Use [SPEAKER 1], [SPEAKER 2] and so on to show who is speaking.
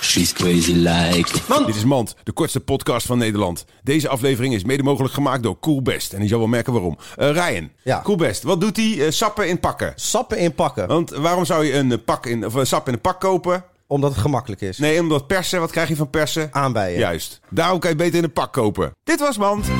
[SPEAKER 1] She's crazy like.
[SPEAKER 2] Dit is Mand, de kortste podcast van Nederland. Deze aflevering is mede mogelijk gemaakt door Coolbest. En je zal wel merken waarom. Eh Ryan,
[SPEAKER 3] Ja.
[SPEAKER 2] Coolbest, wat doet die eh, sappen in pakken?
[SPEAKER 3] Sappen inpakken,
[SPEAKER 2] Want waarom zou je een, eh, pak in, of een sap in een pak kopen?
[SPEAKER 3] omdat het gemakkelijk is.
[SPEAKER 2] Nee, omdat persen, wat krijg je van persen?
[SPEAKER 3] Aanbijen.
[SPEAKER 2] Juist. Daarom kan je het beter in een pak kopen. Dit was Mand.